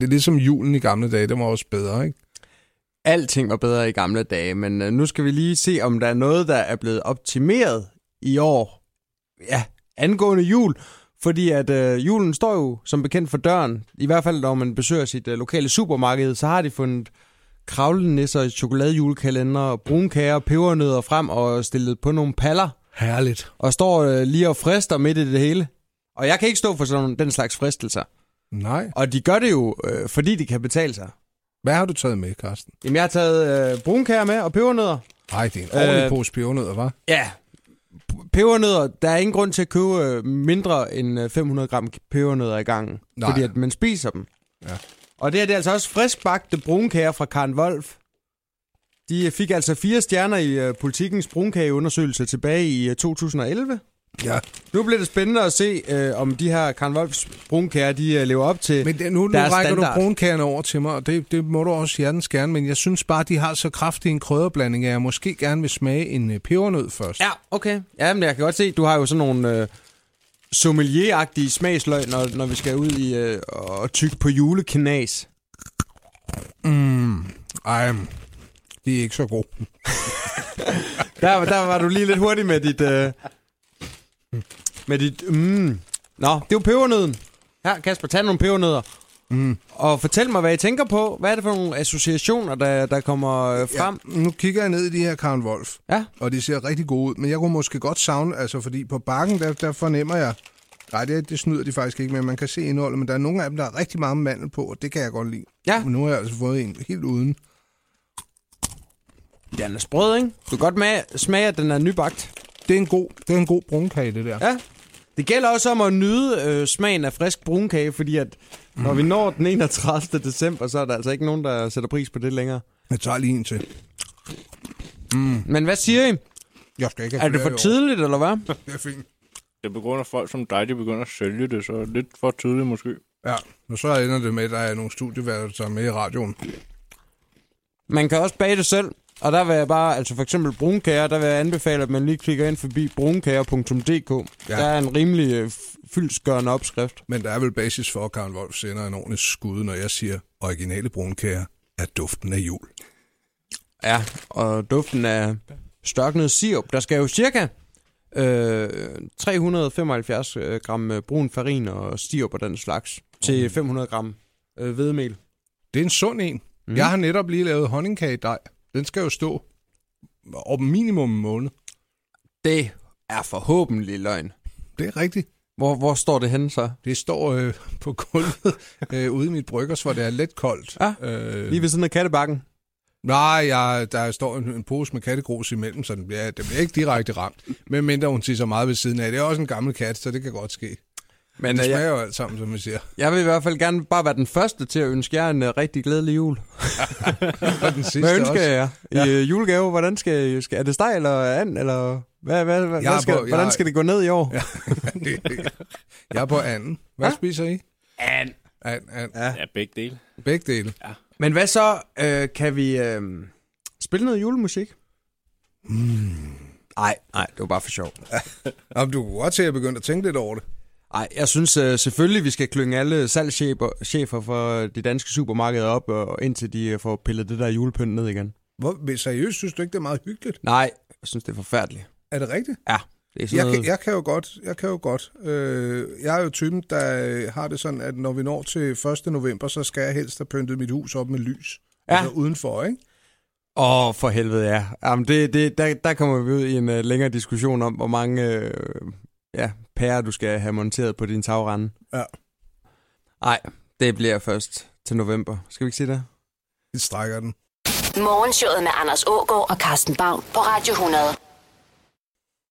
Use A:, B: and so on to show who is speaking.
A: Det er ligesom julen i gamle dage, det var også bedre, ikke?
B: Alting var bedre i gamle dage, men øh, nu skal vi lige se, om der er noget, der er blevet optimeret i år. Ja, angående jul. Fordi at øh, julen står jo som bekendt for døren. I hvert fald, når man besøger sit øh, lokale supermarked, så har de fundet kravlenisser, chokoladejulekalender, brunkager, pebernødder frem og stillet på nogle paller.
A: Herligt.
B: Og står øh, lige og frister midt i det hele. Og jeg kan ikke stå for sådan nogle- den slags fristelser.
A: Nej.
B: Og de gør det jo, øh, fordi det kan betale sig.
A: Hvad har du taget med, Karsten?
B: Jamen, jeg har taget øh, brunkager med og pebernødder.
A: Nej, det er en ordentlig
B: Øh,
A: pose pebernødder, hva'?
B: Ja. Pebernødder, der er ingen grund til at købe øh, mindre end øh, 500 gram pebernødder i gangen.
A: Nej.
B: Nej. Fordi at man spiser dem.
A: Ja.
B: Og det her, det er altså også friskbagte brunkager fra Karen Wolf. De øh, fik altså fire stjerner i øh, politikens brunkageundersøgelse tilbage i øh, 2011.
A: Ja.
B: Nu bliver det spændende at se, øh, om de her Karen Wolfs brunkager, de øh, lever op til
A: Men det, nu, nu
B: deres
A: rækker
B: standard.
A: du brunkagerne over til mig, og det, det må du også hjertens gerne, men jeg synes bare, de har så kraftig en krydderblanding, at jeg måske gerne vil smage en øh, pebernød først.
B: Ja, okay. Ja, men jeg kan godt se, du har jo sådan nogle øh, sommelieragtige smagsløg, når, når vi skal ud i øh, og tykke på juleknas.
A: Mm. Ej, de er ikke så gode.
B: Der, der var du lige lidt hurtig med dit... Øh, med dit... Mm. Nå, det er jo pebernøden. Her, Kasper, tag nogle pebernødder. Mm. Og fortæl mig, hvad I tænker på. Hvad er det for nogle associationer, der, der kommer øh, frem?
A: Ja, nu kigger jeg ned i de her Karen Wolf,
B: Ja.
A: og de ser rigtig gode ud, men jeg kunne måske godt savne, altså fordi på bakken, der, der fornemmer jeg, nej, det, det snyder de faktisk ikke med, man kan se indholdet, men der er nogle af dem, der er rigtig meget mandel på, og det kan jeg godt lide.
B: Ja.
A: Men nu har jeg altså fået en helt uden.
B: ja. Den er sprød, ikke? Du kan godt ma- smage, at den er nybagt.
A: Det er en god, det er en god brunkage, det der.
B: Ja. Det gælder også om at nyde øh, smagen af frisk brunkage, fordi at når vi når den 31. december, så er der altså ikke nogen, der sætter pris på det længere.
A: Jeg tager lige en til.
B: Men hvad siger I?
A: Jeg skal ikke
B: Er
A: have
B: det
A: flere
B: for
A: i år.
B: tidligt, eller hvad?
A: Det er fint.
C: Det begynder folk som dig, de begynder at sælge det, så lidt for tidligt måske.
A: Ja, og så ender det med, at der er nogle studieværelser med i radioen.
B: Man kan også bage det selv, og der vil jeg bare, altså for eksempel brunkager, der vil jeg anbefale, at man lige klikker ind forbi brunkager.dk.
A: Ja.
B: Ja. Der er en rimelig øh, f- fyldsgørende opskrift.
A: Men der er vel basis for, at Karen Wolf sender en ordentlig skud, når jeg siger, originale brunkager er duften af jul.
B: Ja, og duften af størknet sirup. Der skal jo cirka øh, 375 øh, gram øh, brun farin og sirup og den slags til 500 gram øh, hvedemel.
A: Det er en sund en. Mm. Jeg har netop lige lavet honningkage i dej. Den skal jo stå op minimum en måned.
B: Det er forhåbentlig løgn.
A: Det er rigtigt.
B: Hvor, hvor står det henne så?
A: Det står øh, på gulvet øh, ude i mit bryggers, hvor det er let koldt.
B: Ja,
A: øh,
B: Lige ved siden af kattebakken.
A: Nej, jeg, der står en, en pose med kattegrus imellem, så den bliver, den bliver ikke direkte ramt. Men mindre hun tisser meget ved siden af. Det er også en gammel kat, så det kan godt ske.
B: Men
A: Det
B: øh, jeg,
A: smager jo alt sammen, som man siger.
B: jeg vil i hvert fald gerne bare være den første til at ønske jer en øh, rigtig glædelig jul.
A: Og den sidste
B: Hvad ønsker
A: også.
B: jeg jer i øh, julegave? Hvordan skal, I- skal, er det steg eller and, eller hvad, hvad, hvad,
A: Jeg er
B: hvad skal,
A: på- jeg er-
B: hvordan skal det gå ned i år? Ja.
A: jeg er på anden. Hvad
B: Hva?
A: spiser I?
C: And.
A: And, and.
C: Ja, begge dele.
A: Begge dele.
B: Men hvad så? Øh, kan vi øh, spille noget julemusik? Nej, mm. nej, det var bare for sjov.
A: Jamen, du kunne godt se, at jeg begyndte at tænke lidt over det.
B: Nej, jeg synes øh, selvfølgelig, vi skal klynge alle salgschefer chefer for de danske supermarkeder op, og indtil de øh, får pillet det der julepynt ned igen.
A: Hvor, men seriøst, synes du ikke, det er meget hyggeligt?
B: Nej, jeg synes, det er forfærdeligt.
A: Er det rigtigt?
B: Ja, det er sådan
A: Jeg
B: noget...
A: kan, jeg kan jo godt, jeg kan jo godt. Øh, jeg er jo typen, der øh, har det sådan, at når vi når til 1. november, så skal jeg helst have pyntet mit hus op med lys.
B: Ja.
A: Altså udenfor, ikke?
B: Åh, oh, for helvede, ja. Jamen, det, det, der, der kommer vi ud i en uh, længere diskussion om, hvor mange uh, ja, pærer, du skal have monteret på din tagrende.
A: Ja.
B: Nej, det bliver først til november. Skal vi ikke sige det?
A: Det strækker den.
D: Morgenshowet med Anders Ågaard og Carsten Baum på Radio 100.